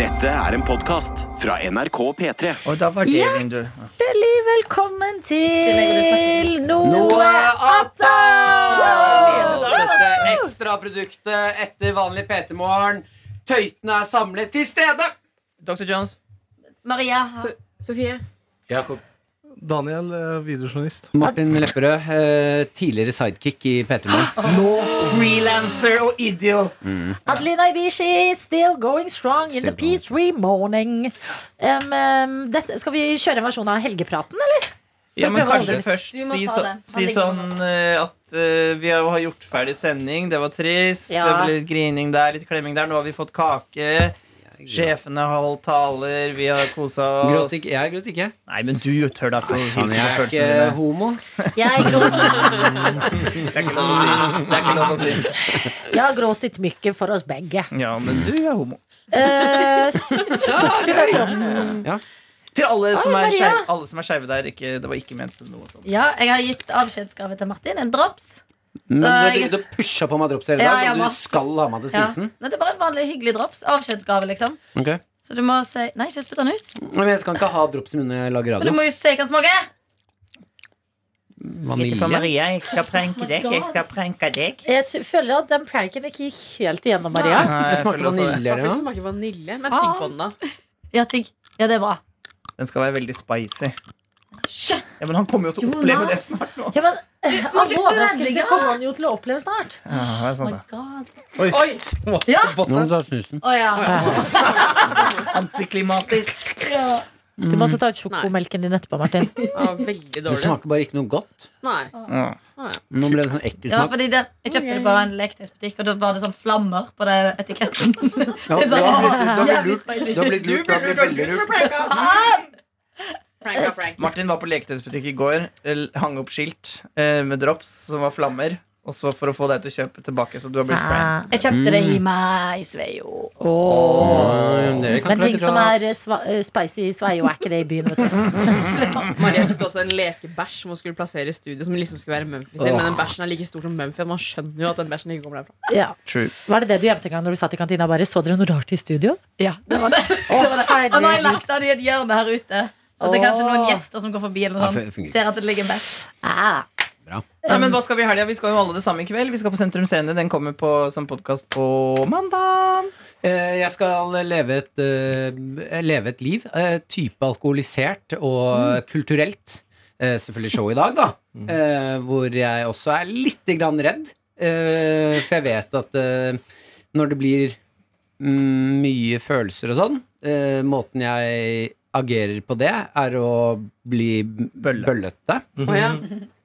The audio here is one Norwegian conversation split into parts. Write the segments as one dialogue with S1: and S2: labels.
S1: Dette er en podkast fra NRK P3.
S2: Og da var det vindu.
S3: Hjertelig velkommen til Noe
S4: Noe
S3: Atta!
S4: Atta! Dette ekstraproduktet etter vanlig PT-morgen. Tøytene er samlet til stede.
S2: Dr. Jones.
S3: Maria.
S5: Sofie.
S6: Daniel, eh, videojournalist.
S4: Martin Lepperød, eh, tidligere sidekick i PT-morgen.
S2: Nå freelancer og idiot.
S3: Adelina Ibishi, still going strong in the P3 morning. Um, um, dette, skal vi kjøre en versjon av helgepraten, eller?
S2: Ja, men
S3: Prøv å holde
S2: kanskje
S3: det.
S2: først
S5: Du må
S2: si,
S5: ta
S2: så,
S5: det. Han
S2: si
S5: ligger
S2: sånn eh, at eh, vi har har gjort ferdig sending. Det var trist. Det
S3: Ja.
S2: ble litt grining der, litt klemming der. Nå har vi fått kake. Sjefene har holdt taler. Vi har kosa oss.
S4: Gråt ikke. Jeg gråt ikke.
S2: Nei, men du tør da ikke å hilse
S4: Jeg
S2: på
S4: er ikke
S2: følelsene dine.
S4: homo.
S3: Jeg gråt,
S2: Det er ikke lov å si. Det er ikke lov å si.
S3: jeg har gråtit mye for oss begge.
S2: Ja, men du er homo.
S3: Eh, tok du den jobben?
S2: Til alle som
S3: Maria.
S2: er skeive- alle som er skeive der. Ikke, det var ikke ment som noe sånt.
S5: Ja, jeg har gitt avskjedsgave til Martin. En drops.
S4: Men
S5: Så
S4: du,
S5: jeg-
S4: du pusha på meg drops hele
S5: Ja, jeg
S4: dag, og
S5: må-
S4: du skal ha meg til å
S5: Ja.
S4: spise den.
S5: Nei, det er bare en vanlig hyggelig drops. Avskjedsgave, liksom.
S4: Ok.
S5: Så du må si Nei, ikke spytt den ut.
S4: Men jeg kan ikke ha drops i munnen når jeg lager
S5: Men du
S4: radio.
S5: må jo se hva den smaker.
S2: Ikke for
S4: Vanilje.
S2: Maria. Jeg skal pranke deg. Jeg skal pranke deg.
S3: Jeg t- føler at den pranken ikke gikk helt igjennom, Maria.
S2: Nei,
S4: Det
S2: jeg
S4: smaker
S2: føler også det.
S4: vanilje. eller
S7: Hvorfor
S4: noe?
S7: smaker vanilje? Men tygg på den, da.
S3: Ja, tygg. ja det er bra.
S2: Den skal være veldig spicy. Ja, men han kommer jo til å oppleve det snart. Nå.
S3: Ja, men
S5: må
S3: Alle
S5: ikke
S3: overraskelser
S5: ødelegge.
S3: kommer han jo til å oppleve snart.
S2: Ja, det er sant, det.
S6: Oi!
S4: Nå må du ta snusen.
S5: Oh Å ja.
S2: Antiklimatisk.
S3: Du må også ta ut sjokomelken din etterpå, Martin.
S7: Ja, veldig
S4: Det
S7: dårlig.
S4: smaker bare ikke noe godt.
S7: Nei.
S2: Ja.
S4: Nå ble det sånn ekkel
S5: Det var
S4: smak.
S5: fordi det, jeg kjøpte det på en leketøysbutikk, og da var det sånn flammer på det etiketten.
S4: Ja,
S5: Det er
S4: du
S5: sånn,
S4: har blitt- du har blitt
S5: jævlig
S4: lurt.
S5: spicy.
S4: Du har blitt lurt. Du har blitt veldig lurt.
S7: Pranka, pranka.
S2: Martin var på leketøysbutikk i går, el- hang opp skilt eh, med drops som var flammer. Og så for å få deg til å kjøpe tilbake, så du har blitt prank.
S3: Jeg kjøpte det i
S5: Mm.
S3: meg, Sveio.
S4: Nei, dere kan
S3: Men ting
S4: ikke være
S3: som er
S4: til
S3: eh, sva- eh, spicy i Sveio, er ikke det i byen. Vet du.
S7: Maria tok også en lekebæsj som hun skulle plassere i studio, som liksom skulle være Mumphy sin. Men den bæsjen er like stor som Mumphy, og man skjønner jo at den bæsjen ikke kommer derfra.
S3: Ja.
S2: True.
S3: Var det det du gjemte en gang når du satt i kantina og bare så dere noe rart i studio?
S5: Ja, det var det.
S3: Å,
S5: Og nå har jeg
S3: herregud.
S5: lagt den i et hjørne her ute. Så at det er kanskje noen
S3: Åh.
S5: gjester som går forbi, eller
S4: Ja,
S5: noe
S4: det fungerer.
S5: sånt, ser at det ligger en bæsj.
S3: Ah.
S2: Nei, men hva skal vi i helga? Vi skal jo alle det samme i kveld. Vi skal på Sentrum Scene. Den kommer på, som podkast på mandag.
S4: Eh, Jeg skal leve et, eh, leve et liv. eh, Type alkoholisert
S3: Mm.
S4: og kulturelt. Eh, Selvfølgelig show i dag, da. eh, Hvor jeg også er lite grann redd. Eh, For jeg vet at eh, når det blir mm, mye følelser og sånn, eh, måten jeg agerer på det, er å bli
S2: Bølle.
S4: bøllete.
S7: Å, ja.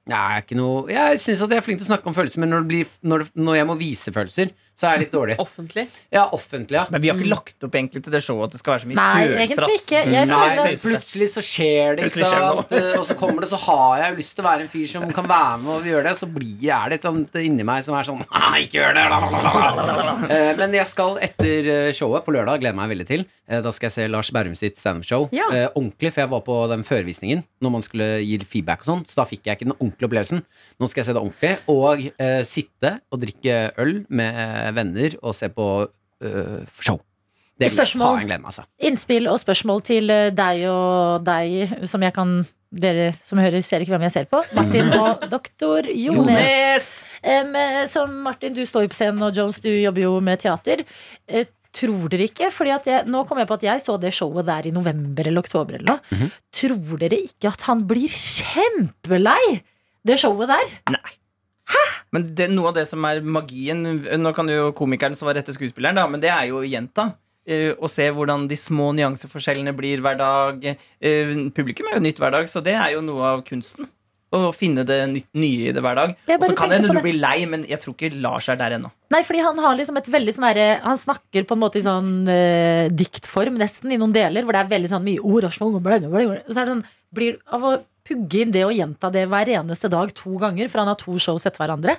S4: Jeg er ikke noe Jeg syns at jeg er flink til å snakke om følelser, men når, det blir, når, det- når jeg må vise følelser, så er jeg litt dårlig.
S7: Offentlig.
S4: Ja, offentlig, ja.
S2: Men vi har ikke lagt opp egentlig til det showet at det skal være så mye
S3: Nei,
S2: følelser.
S3: egentlig
S2: ass.
S3: ikke. Jeg føler
S4: Nei,
S3: at
S4: plutselig så skjer det, ikke
S2: Plutselig skjer
S4: sant? Og så kommer det, så har jeg jo lyst til å være en fyr som kan være med og gjøre det. Så blir jeg er det et eller annet inni meg som er sånn Nei, ikke gjør det! la, la, la, la, la». Eh, Men jeg skal etter eh, showet på lørdag, gleder meg veldig til, eh, da skal jeg se Lars Berrum sitt standup-show
S7: Ja.
S4: eh, ordentlig. For jeg var på den førvisningen når man skulle gi feedback og sånn, så da fikk jeg ikke den ordentlige opplevelsen. Nå skal jeg se det ordentlig, og eh, sitte og drikke øl med eh, venner og se på eh, show. Det vil jeg
S3: Spørsmål?
S4: faen glede meg, altså.
S3: innspill og spørsmål til eh, deg og deg, som jeg kan dere som hører, ser ikke hvem jeg ser på. Martin og doktor Jones.
S2: Jones!
S3: Em, eh, Som Martin, du står jo på scenen, og Jones, du jobber jo med teater. Eh, Tror dere ikke, fordi at jeg, Nå kom jeg på at jeg så det showet der i november eller oktober. eller noe Tror dere ikke at han blir kjempelei det showet der?
S2: Men det, noe av det som er magien Nå kan jo komikeren som var rette skuespilleren, da, men det er jo jenta. eh, Å se hvordan de små nyanseforskjellene blir hver dag. Eh, Publikum er jo nytt hver dag, så det er jo noe av kunsten. Å finne det nytt, nye i det hver dag.
S3: Jeg
S2: Og
S3: bare
S2: så kan
S3: tenkte
S2: det hende
S3: på
S2: du blir lei, men jeg tror ikke Lars er der ennå.
S3: Nei, fordi han har liksom et veldig sånn derre Han snakker på en måte i sånn eh, diktform, nesten, i noen deler, hvor det er veldig sånn mye ord og sånn, og bla, bla, bla. Så er det sånn Blir av å pugge inn det og gjenta det hver eneste dag to ganger, for han har to shows etter hverandre.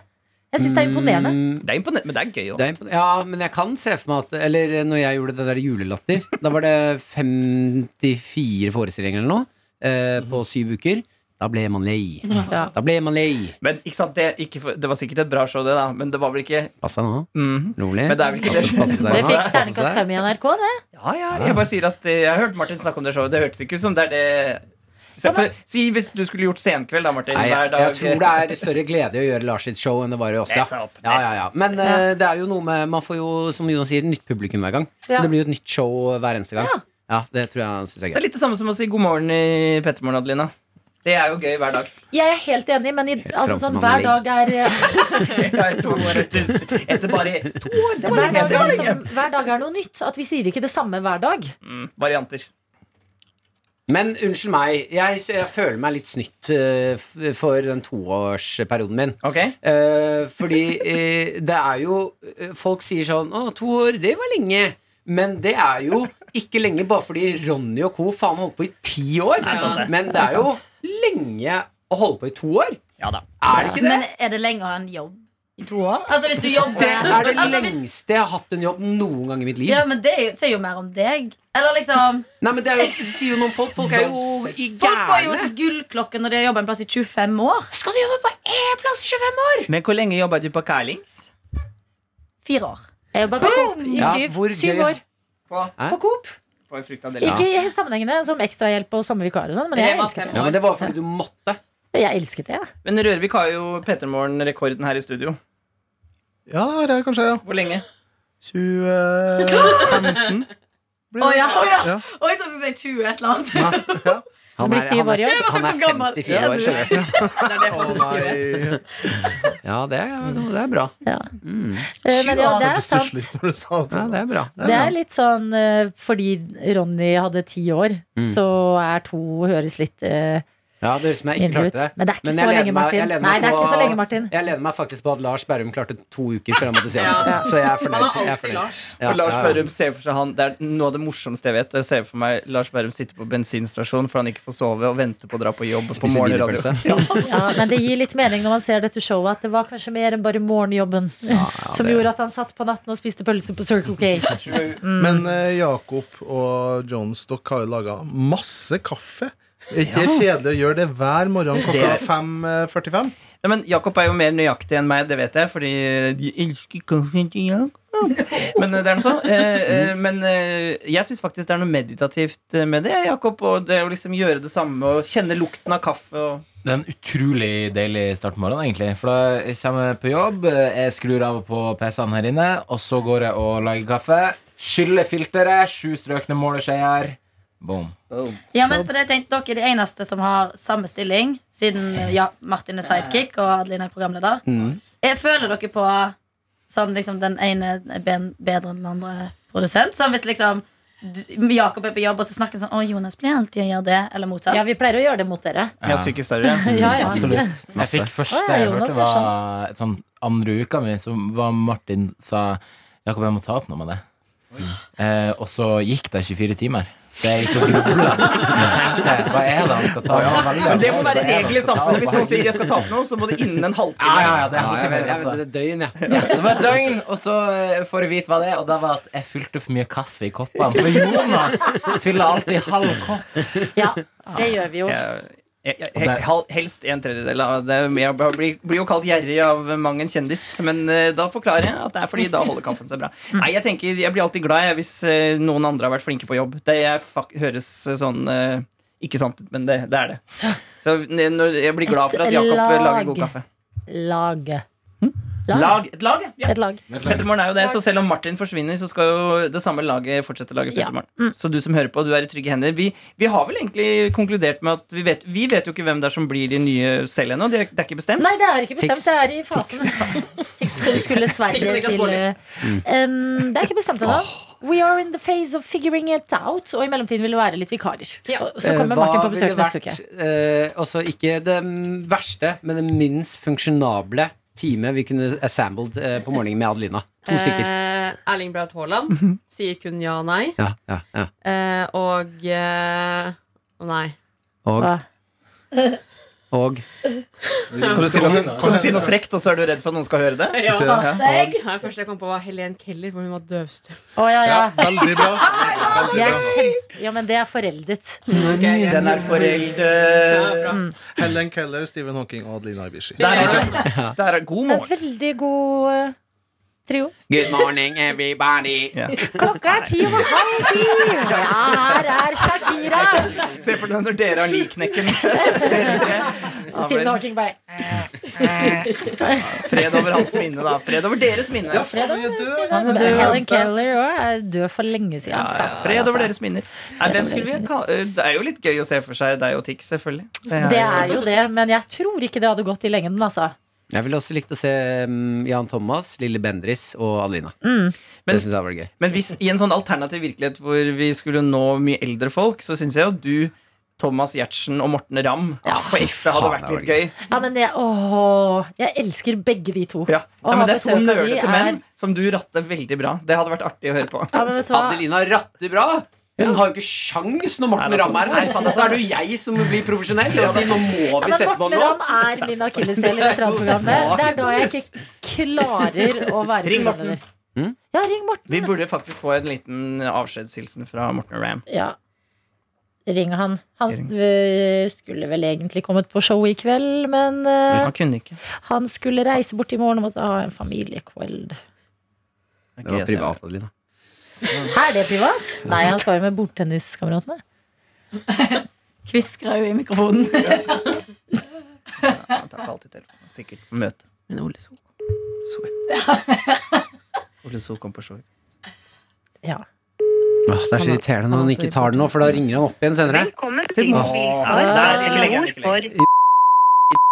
S3: Jeg syns det er imponerende.
S4: Mm,
S2: Det er imponerende, men det er gøy òg.
S4: Det er impon- ja, men jeg kan se for meg at Eller eh, når jeg gjorde det der julelatter Da var det 54 forestillinger eller noe eh, På syv uker Da ble man lei.
S3: Mhm. Ja.
S4: Da ble man lei.
S2: Men ikke sant, det, ikke, for- det var sikkert et bra show, det, da. Men det var vel ikke
S4: Pass deg nå.
S2: mm,
S4: Rolig.
S2: Men det er vel ikke
S4: Passe-
S2: det-
S4: passe seg
S3: Det
S4: nå.
S3: fikk
S4: Passe
S3: terningkast
S4: seg.
S3: fem i NRK, det.
S2: Ja, ja. Jeg bare sier at eh, jeg har hørt Martin snakke om det showet. Det hørtes ikke ut som det er det Se, for, Si hvis du skulle gjort Senkveld, da, Martin.
S4: Nei, jeg,
S2: hver dag.
S4: jeg tror det er større glede i å gjøre Lars sitt show enn det var i oss, ja.
S2: Nettopp,
S4: ja, ja, ja. Men eh, det er jo noe med Man får jo, som Jonas sier, nytt publikum hver gang. Så
S3: Ja.
S4: det blir jo et nytt show hver eneste gang. Ja, det tror jeg han syns er
S2: Det
S4: gøy.
S2: er litt det samme som å si god morgen i Pettermorgen, Adelina. Det er jo gøy hver dag.
S3: Jeg er helt enig, men i, altså,
S4: fram til
S3: sånn,
S4: man
S3: hver
S4: er
S3: dag er
S2: To år etter, etter bare to år. Det var
S3: hver
S2: lenge, det
S3: dag er,
S2: var lenge.
S3: liksom, hver dag er noe nytt. At vi sier ikke det samme hver dag.
S2: Mm, varianter.
S4: Men unnskyld meg, jeg, jeg føler meg litt snytt eh, f- for den toårsperioden min.
S2: Ok?
S4: Eh, fordi eh, det er jo eh, Folk sier sånn Å, to år, det var lenge. Men det er jo ikke lenge bare fordi Ronny og co. faen holdt på i ti år.
S7: sant det.
S4: Men det er jo lenge å holde på i to år.
S2: Ja da.
S4: Er det ikke det?
S5: Men er det lenger enn jobb i to år? Altså hvis du jobber
S4: Det er det
S5: altså, hvis,
S4: lengste jeg har hatt en jobb noen gang i mitt liv.
S5: Ja, men det er jo- sier jo mer om deg. Eller liksom
S4: Nei, men det, er jo, det sier jo noe om folk. Folk er jo i
S5: Folk får jo sånn
S4: gærne.
S5: gullklokke når de har jobba en plass i 25 år.
S4: Skal du jobbe på én plass i 25 år?
S2: Men hvor lenge jobba du på Carlings?
S5: Fire år.
S3: Jeg jobba på Coop i
S4: Ja,
S3: syv,
S4: hvor
S3: syv
S4: gøy.
S3: år.
S2: På,
S4: Hæ?
S2: på Coop? På fruktavdelingen.
S3: Ikke i sammenhengene som ekstrahjelp og sommervikar og sånn, men
S7: Det
S3: jeg
S7: var
S3: elsket
S7: fem
S4: Ja,
S3: det.
S4: men det var fordi du måtte.
S3: Jeg elsket det, ja.
S2: Men Rørvik har jo P3morgen-rekorden her i studio.
S6: Ja, her er kanskje ja.
S2: Hvor lenge?
S6: 2015 blir
S5: Å,
S6: det.
S5: ja, å, ja.
S6: Ja.
S5: Og jeg tror jeg skulle si 20 et eller annet.
S6: Ja, ja.
S4: Han
S3: blir
S4: er,
S3: syv
S4: han
S3: år
S4: er,
S3: i år.
S4: s- han er
S5: Jeg var
S4: 54 år,
S7: så
S4: skjønner du.
S7: Det er det
S6: Å,
S7: folk ikke vet.
S6: nei.
S4: Ja, det er, det er bra.
S8: Mm.
S3: Eh, Men ja, det
S6: Du
S3: er sant.
S6: stusler litt når du sa
S4: Ja, det er bra.
S3: Det er litt sånn eh, fordi Ronny hadde ti år,
S4: Mm.
S3: så er to høres litt eh,
S4: Ja, det høres ut som jeg ikke
S3: mindre ut.
S4: klarte det.
S3: Men det er ikke
S4: Men jeg
S3: så
S4: lener
S3: lenge,
S4: meg- jeg
S3: Martin.
S4: lener meg
S3: Nei, det er
S4: på-
S3: ikke så lenge, Martin.
S4: Jeg lener meg faktisk på at Lars Berrum klarte to uker før han måtte si
S7: Ja.
S4: det. Så jeg er fornøyd.
S7: Man har
S4: Jeg er
S7: alltid
S4: fornøyd.
S7: Lars.
S4: Ja,
S2: og Lars
S4: ja, ja.
S2: Berrum ser for seg han Det er noe av det morsomste jeg vet. Jeg ser for meg Lars Berrum sitter på bensinstasjon for han ikke får sove, og venter på å dra på jobb. på
S4: Spiser
S2: morgenen i
S4: wienerpølse.
S2: radio.
S3: Ja, men det gir litt mening når man ser dette showet, at det var kanskje mer enn bare morgenjobben som
S4: det-
S3: gjorde at han satt på natten og spiste pølse på Circle K.
S6: Men eh, Jakob og Jones, dere har jo laga masse kaffe. Er ikke det kjedelig å gjøre det hver morgen klokka eh,
S2: Det-
S6: 5.45?
S2: Ja, men Jakob er jo mer nøyaktig enn meg, det vet jeg, fordi de elsker kaffen til Jakob. Men eh, det er noe sånn. Eh, eh, men eh, jeg syns faktisk det er noe meditativt eh, med det, Jakob. Og det å liksom gjøre det samme og kjenne lukten av kaffe og
S8: Det er en utrolig deilig start på morgenen, egentlig. For da jeg kommer jeg på jobb, jeg skrur av og på PC-en her inne, og så går jeg og lager kaffe. Skyller filteret, sju strøkne måleskjeer. Boom.
S5: Ja, men for det jeg tenkte, Dere er de eneste som har samme stilling, siden ja, Martin er sidekick og Adeline er programleder. Jeg føler dere på sånn liksom den ene er ben- bedre enn den andre produsent. Sånn hvis liksom du- Jakob er på jobb, og så snakker han sånn Å, Jonas blir alltid å gjøre det. Eller motsatt.
S3: Ja, vi pleier å gjøre det mot dere.
S2: Jeg er psykisk større.
S3: Ja, ja.
S8: Absolutt. Jeg fikk
S3: Å,
S8: første
S3: ja,
S8: jeg
S3: Jonas
S8: hørte,
S3: er
S8: var sånn andre uka mi, så var Martin sa Jakob, jeg må ta opp noe med det. Eh, og så gikk det 24 timer. Det gikk og grubla. Jeg tenkte, Hva er det han skal ta opp?
S2: Men det må være regel i samfunnet. Hvis noen sier jeg skal ta opp noe, så må det innen en
S8: Ja,
S2: halvtime.
S8: ja, ja, det
S4: Ja,
S8: holdt
S4: jeg
S8: jeg
S4: vet,
S8: med,
S4: jeg
S8: altså.
S4: vet det er døgn, jeg.
S8: Ja, det var et døgn, og så eh, får jeg vite hva det er. Og da var at jeg fylte for mye kaffe i koppene. For Jonas fyller alltid halv kopp.
S3: Ja, det gjør vi jo.
S2: Jeg- jeg- jeg- hel- hel- Helst en tredjedel av det. Jeg blir, blir jo kalt gjerrig av mang en kjendis, men eh, da forklarer jeg at det er fordi da holder kaffen seg bra.
S3: Mm.
S2: Nei, Jeg tenker, jeg blir alltid glad jeg, hvis eh, noen andre har vært flinke på jobb. Det er, fak- høres eh, sånn eh, ikke sant ut, men det, det er det. Så n- når, jeg blir glad for at
S3: Et
S2: Jakob eh, lager
S3: lag.
S2: god kaffe.
S3: Lag.
S2: Lag, et lag, ja.
S3: Et lag.
S2: Pettermorgen er jo det, så selv om Martin forsvinner, så skal jo det samme laget fortsette å lage Pettermorgen.
S3: Mm.
S2: Så du som hører på, du er i trygge hender. Vi, vi har vel egentlig konkludert med at vi vet, vi vet jo ikke hvem det er som blir de nye selv ennå. Det, er- det er ikke bestemt.
S3: Nei, det er ikke bestemt.
S4: Tics.
S3: Det er i fasen. Tics, Så vi skulle
S7: Tics,
S3: Sverige
S7: Niklas
S3: til
S7: Baarli.
S3: eh, um, Det er ikke bestemt ennå. We are in the phase of figuring it out. Og i mellomtiden vil det være litt vikarer. Og så kommer
S4: Eh, Hva
S3: Martin på
S4: ville
S3: besøk neste uke.
S4: vært, eh, også ikke det verste, men det minst funksjonable time vi kunne assembled eh, på morgenen med Adelina. To stykker.
S7: Eh, Erling Braut Haaland sier kun ja og nei.
S4: Ja, ja, ja.
S7: Eh, og eh, Nei.
S4: Og
S3: Hva?
S4: Og
S2: Skal du si noe, skal du si noe frekt, og så er du redd for at noen skal høre det?
S7: Ja.
S6: Ser
S7: Ja.
S6: jeg.
S5: Deg?
S7: Det første jeg kom på, var Helen Keller, hvor hun var døvstum.
S3: Å, ja, ja.
S6: Ja, veldig bra.
S3: Jeg er kjem- ja, men det er foreldet.
S2: Den er foreldet.
S7: Mm.
S6: Helen Keller, Stephen Hawking og Adeline Ibishi.
S2: Der er du. Der er god
S3: Det er
S2: morgen.
S3: veldig god eh, trio.
S4: Good morning, everybody.
S3: Klokka er ti over halv ti! Ja, her er Shakira!
S2: Se for deg når dere har liknekken.
S3: Stephen
S2: Dere tre.
S3: Hawking bare
S2: Ja, fred over hans minne, da. Fred over deres minne.
S6: faen, jeg dør.
S2: Han er død.
S3: Helen Keller òg er død for lenge siden.
S2: Ja, ja,
S3: stakkar,
S2: fred over
S3: altså.
S2: deres minner. Nei, hvem skulle vi ka eh, Det er jo litt gøy å se for seg deg og Tix, selvfølgelig.
S3: Det er jo det, men jeg tror ikke det hadde gått i lengden, altså.
S4: Jeg ville også likt å se mm, Jan Thomas, Lille Bendris og Adelina.
S3: Mm.
S2: Men-
S4: det syns jeg var gøy.
S2: Men hvis, i en sånn alternativ virkelighet hvor vi skulle nå mye eldre folk, så syns jeg jo du, Thomas Giertsen og Morten Ramm på ekte hadde
S4: faen,
S2: vært
S4: det var
S2: litt gøy.
S3: Ja, men jeg, åh, jeg elsker begge de to.
S2: Ja.
S3: Å
S2: Ja, men
S3: ha
S2: det er to
S3: besøk av de
S2: nølete
S3: er-
S2: menn som du ratter veldig bra. Det hadde vært artig å høre på.
S3: Ja, men vet du hva?
S4: Adelina ratter bra! Hun har jo ikke sjans når Morten
S2: Nei, det er sant.
S4: Ramm er
S2: Nei,
S4: her.
S2: faen, altså, det er
S4: Så er det jo jeg som blir profesjonell og sier nå må
S3: Ja,
S4: vi
S3: men
S4: sette på
S3: Morten
S4: noe.
S3: Ramm er min akilleshæl i veteranprogrammet. Det er da jeg ikke klarer å være
S2: Ring Morten.
S3: programleder.
S4: Hm?
S3: Ja, ring
S2: Vi
S3: Morten.
S2: burde faktisk få en liten avskjedshilsen fra Morten Ramm.
S3: Ja. Ring han. Han
S2: Ring.
S3: øh, skulle vel egentlig kommet på show i kveld, men øh,
S2: Han kunne ikke.
S3: han skulle reise bort i morgen og måtte ha en familiekveld.
S2: Ok,
S4: Det var
S2: jeg ser
S4: privat, Adelina.
S3: Er det privat? Nei, han skal jo med bordtenniskameratene.
S5: Kviskrer jo i mikrofonen.
S2: det. Han tar ikke alltid telefonen. Sikkert på møte.
S7: Men Ole Sol.
S2: Så. Ole So kom på show.
S3: Ja.
S4: Åh, det er så irriterende når han ikke tar den nå, for da ringer han opp igjen senere.
S9: Velkommen til
S2: Til
S9: Bilsvar.
S2: Åh, der, ikke legg den, ikke legg
S9: for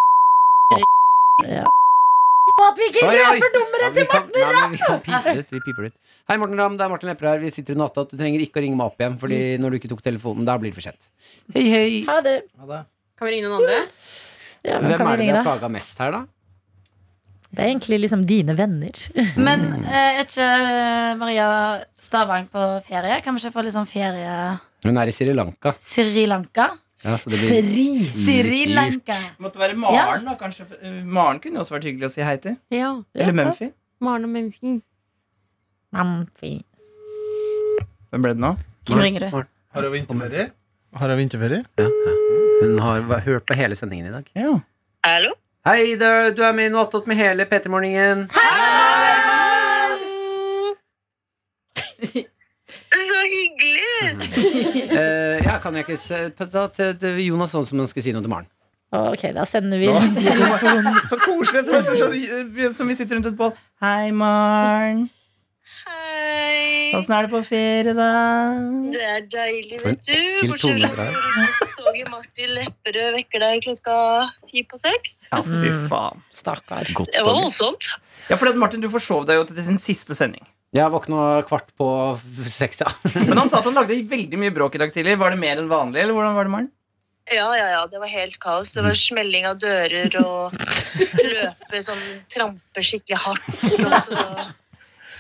S3: På at vi ikke
S4: Oi, oi.
S3: røper nummeret
S4: Ja, vi
S3: til
S4: kan-
S3: Morten
S4: nei, men Vi kan pipe det ut. Vi piper det ut. Hei, Morten Ramm. Det er Martin Lepperød her. Vi sitter i natta. Du trenger ikke å ringe meg opp igjen,
S3: Mm.
S4: Fordi når du ikke tok telefonen, da blir det for sent. Hei, hei.
S3: Ha det.
S6: Ja, det.
S7: Kan vi ringe noen andre?
S3: Ja, hvem
S4: Hvem
S3: kan
S4: er
S3: vi
S4: det
S3: ringe
S4: dere har
S3: da?
S4: plaga mest her, da?
S3: Det er egentlig liksom dine venner.
S5: Men eh, er ikke eh, Maria Stavang på ferie? Kan vi ikke få litt sånn ferie
S4: Hun er i Sri Lanka.
S5: Sri Lanka?
S4: Ja, så det blir
S3: Sri.
S5: Sri Lanka.
S2: Det måtte være Maren, da, kanskje. Eh, Maren kunne også vært hyggelig å si hei til.
S7: Ja.
S2: Eller Mumphy.
S7: Maren og Mumphy.
S3: Amfi.
S2: Hvem ble det nå?
S5: Hvem ringer du?
S6: Har hun vinterferie? Har hun vinterferie?
S4: Hun har va- hørt på hele sendingen i dag.
S2: Ja.
S9: Hallo?
S4: Hei, det er- du er med i noe attåt med hele P3-morgningen.
S9: Så hyggelig!
S4: Eh, ja, kan jeg ikke se på- da, til, til Jonas Hansen ønsker si noe til Maren.
S3: Ok, da sender vi telefonen.
S2: Så koselig som, så- sånn, eh, som vi sitter rundt et bål. Hei, Maren.
S9: Hei.
S2: Åssen er det på ferie, da?
S9: Det er deilig,
S4: Altså, For en
S9: vet du.
S4: ekkel
S9: Bortsett
S4: tone
S9: fra
S4: der.
S9: at toget Martin Lepperød vekker deg klokka ti på seks.
S2: Ja, fy faen.
S3: Stakkar.
S9: Det var voldsomt.
S2: Ja, for Martin, du forsov deg jo til sin siste sending.
S4: Jeg våkna kvart på f- seks, ja.
S2: Men han sa at han lagde veldig mye bråk i dag tidlig. Var det mer enn vanlig, eller hvordan var det, Maren?
S9: Ja, ja, ja. Det var helt kaos. Det var
S4: Mm.
S9: smelling av dører og løpe sånn trampe skikkelig hardt. Og så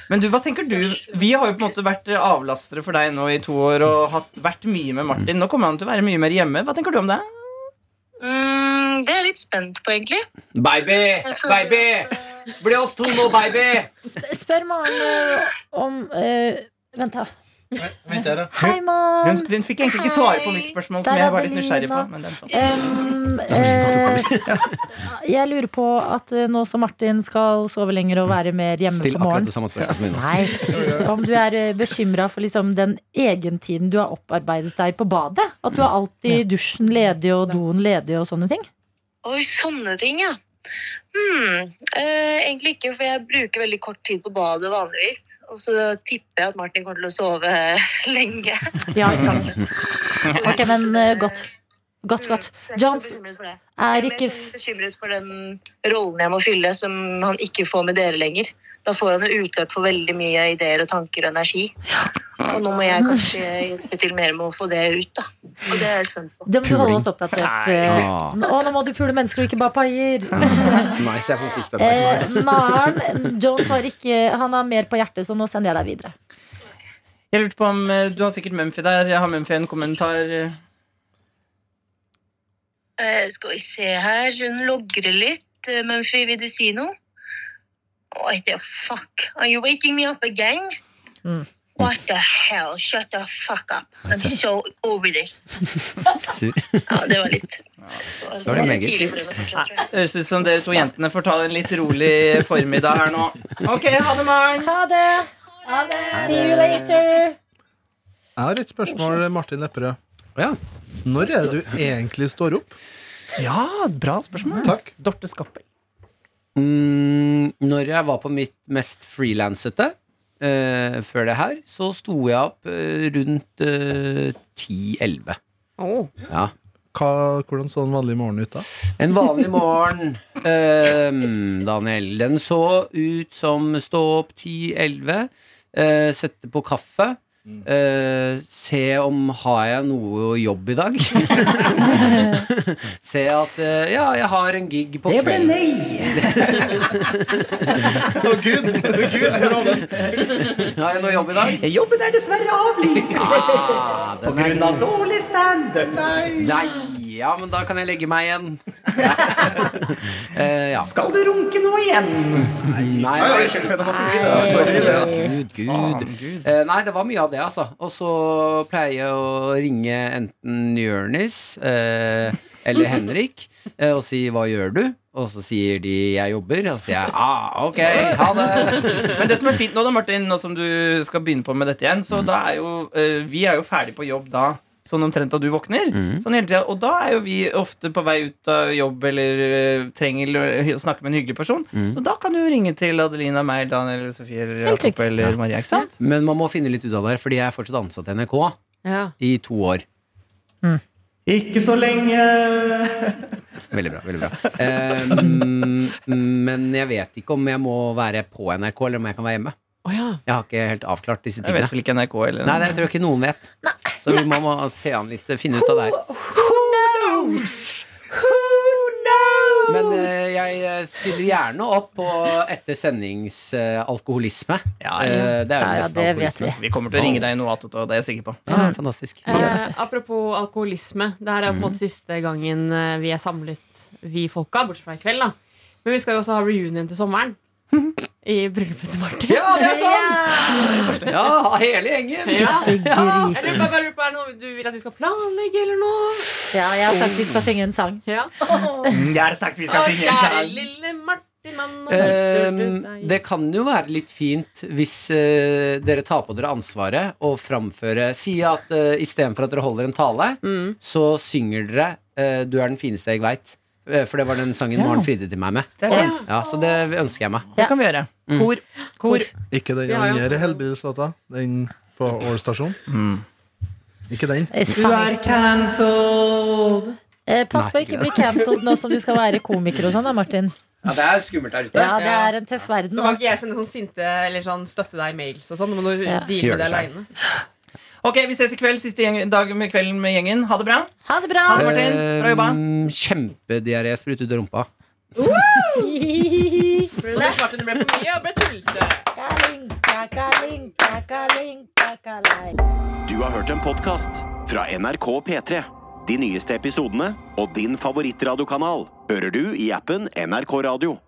S2: Men du, hva tenker du? Vi har jo på en måte vært eh, avlastere for deg nå i to år og hatt, vært mye med Martin. Nå kommer han til å være mye mer hjemme. Hva tenker du om det?
S9: mm, Det er jeg litt spent på, egentlig.
S4: Baby! Baby! Bli oss to nå, baby!
S3: Spør Maren eh, om eh, Vent, da.
S6: Vent her, da.
S3: Hei,
S2: Hun,
S3: Maren.
S2: hun fikk egentlig ikke svare på mitt spørsmål, som
S3: Der er
S2: jeg var litt nysgjerrig
S3: Adelina.
S2: på. Men det er sånn.
S3: Em, eh, jeg lurer på at eh, nå som Martin skal sove lenger og være mer hjemme på
S4: Still akkurat
S3: morgenen
S4: det samme spørsmålet som Jonas.
S3: Nei. Om du er bekymra for liksom den egentiden du har opparbeidet deg på badet? At du har alltid dusjen ledig og doen ledig og sånne ting?
S9: Oi, sånne ting, ja. Hmm, eh, egentlig ikke, for jeg bruker veldig kort tid på badet vanligvis. Og så tipper jeg at Martin kommer til å sove lenge.
S3: Ja, ikke sant. Ok, men eh, godt. Godt, godt.
S9: Mm, så jeg er ikke så
S3: Johns
S9: bekymret for det. Jeg
S3: er
S9: er
S3: ikke
S9: mer sånn bekymret for den rollen jeg må fylle, som han ikke får med dere lenger. Da får han jo utløp for veldig mye ideer og tanker og energi. Og nå må jeg kanskje hjelpe til mer med å få det ut, da. Og det er jeg spent på.
S3: Det må du holde oss oppdatert. eh.
S4: Ah,
S3: Å, nå må du pule mennesker og ikke bare paier.
S4: nice, jeg får fisk på
S3: Eh,
S4: nice.
S3: Maren Jones har ikke Han har mer på hjertet, så nå sender jeg deg videre.
S2: Jeg lurte på om eh, Du har sikkert Mumphy der. Har Mumphy en kommentar? eh?
S9: Eh, skal vi se her. Hun logrer litt. Eh, Mumphy, vil du si noe? What the fuck? Are you waking me up again?
S3: Mm.
S9: What the hell? Shut the fuck up. I'm so over this.
S4: Sur.
S9: Ja, det var litt
S4: var det meget.
S9: tidlig for henne fortsatt, tror jeg.
S2: Høres ut som dere to jentene får ta en litt rolig formiddag her nå. Ok, ha det, Maren.
S3: Ha det! See you later!
S6: Jeg har et spørsmål, Martin Lepperød.
S4: Ja.
S6: Når er det du egentlig står opp?
S2: Ja, bra spørsmål.
S6: Takk.
S2: Dorte Skappel.
S4: Mm, når jeg var på mitt mest frilansete eh, før det her, så sto jeg opp eh, rundt eh, 10-11.
S7: Åh.
S4: Ja.
S6: Hva, hvordan så en vanlig morgen ut da?
S4: En vanlig morgen, eh, Daniel, den så ut som stå opp 10-11, eh, sette på kaffe. eh, se om har jeg noe jobb i dag. se at eh, ja, jeg har en gig på kvelden.
S6: Å, Gud! Gud, for oven!
S4: Har jeg noe jobb i dag?
S2: Jobben er dessverre avlyst
S4: Ah,
S2: på
S4: den er
S2: grunn av dårlig standup.
S4: Nei, ja, men da kan jeg legge meg igjen. Eh, ja.
S2: Skal du runke nå igjen?
S4: Nei,
S2: Oi,
S4: nei.
S2: oi, shit, det var forbi, det. Sorry, det.
S4: Gud, gud. Eh, nei, det var mye av det, altså. Og så pleier jeg å ringe enten Jonis eh, eller Henrik eh, og si 'hva gjør du?' Og så sier de 'jeg jobber', og så sier jeg 'ah, ok, ha det'.
S2: Men det som er fint nå, da, Martin, nå som du skal begynne på med dette igjen, så da er jo eh, vi er jo ferdig på jobb da. Sånn omtrent da du våkner. Sånn hele tiden. Og da er jo vi ofte på vei ut av jobb eller eh, trenger å- å snakke med en hyggelig person. Så da kan du jo ringe til Adelina, meg, Daniel, Sofie eller
S3: Helt
S2: Jakob eller Maria. Ikke sant?
S4: Men man må finne litt ut av det her, fordi jeg er fortsatt ansatt i NRK
S7: Ja.
S4: i to år.
S2: Ikke så lenge.
S4: Veldig bra. veldig bra Ehm, Men jeg vet ikke om jeg må være på NRK, eller om jeg kan være hjemme.
S7: Å ja.
S4: Jeg har ikke helt avklart disse
S2: Jeg vet
S4: tingene.
S2: vel ikke NRK eller
S4: Nei, det tror jeg ikke noen vet. Så vi må, må se an litt, eh, finne ut av det her. Men eh, jeg eh, stiller gjerne opp på ettersendingsalkoholisme.
S2: Ja,
S4: Eh, det
S3: Ja,
S4: er jo
S3: ja,
S4: nesten
S3: det vet Mm.
S4: alkoholisme.
S3: vi.
S2: Vi kommer til å ringe deg i noe annet, det er jeg sikker på.
S4: Ja, fantastisk.
S7: Eh, apropos alkoholisme. Det her er på en måte siste gangen eh, vi er samlet, vi folka, bortsett fra i kveld. da Men vi skal jo også ha reunion til sommeren. I bryllupet til Martin.
S4: Ja, det er sant! Ja, hele gjengen.
S7: Ja.
S3: Gris.
S7: Jeg lurer på- jeg lurer på, Er det noe du vil at vi skal planlegge, eller noe?
S3: Ja, jeg har sagt vi skal synge en sang.
S7: Ja.
S2: Jeg har sagt vi skal
S7: Å,
S2: synge en
S7: kjære
S2: sang.
S7: lille Martin, mann og
S4: Ehm,
S7: søster, du,
S4: det
S7: deg.
S4: kan jo være litt fint hvis eh, dere tar på dere ansvaret og framfører Si at uh, istedenfor at dere holder en tale,
S7: Mm.
S4: så synger dere eh, 'Du er den fineste jeg veit'. Eh, for det var den sangen Maren fridde til meg med.
S2: Det er fint.
S4: Ja, Så det ønsker jeg meg.
S2: Det kan vi gjøre. Kor. Kor.
S6: Ikke den
S7: Vi har jo
S6: andre
S7: også-
S6: Hellbilslåta. Den på Ål stasjon. Ikke den.
S3: It's funny.
S2: cancelled.
S3: Eh, pass på
S4: Nei,
S3: å ikke bli cancelled nå som du skal være komiker og sånn, da, Martin.
S4: Ja, Det er skummelt der ute.
S3: Ja, det er en tøff verden.
S7: Nå kan ikke jeg sende sånn sinte eller sånn støtte deg-mails og sånn. Nå må du
S3: Ja.
S4: Gjør
S7: deale med det
S4: det selv.
S7: aleine.
S2: Ok, vi ses i kveld. Siste gjeng- dag med kvelden med gjengen. Ha det bra.
S3: Ha det bra!
S2: Ha det, Martin. Bra jobba.
S4: Ehm, Kjempediaré sprutt ut av rumpa.
S7: Det ble for mye og ble tullete.
S3: Kalinka, kalinka, kalinka, kalai.
S1: Du har hørt en podcast fra NRK P3. De nyeste episodene og din favorittradiokanal hører du i appen NRK Radio.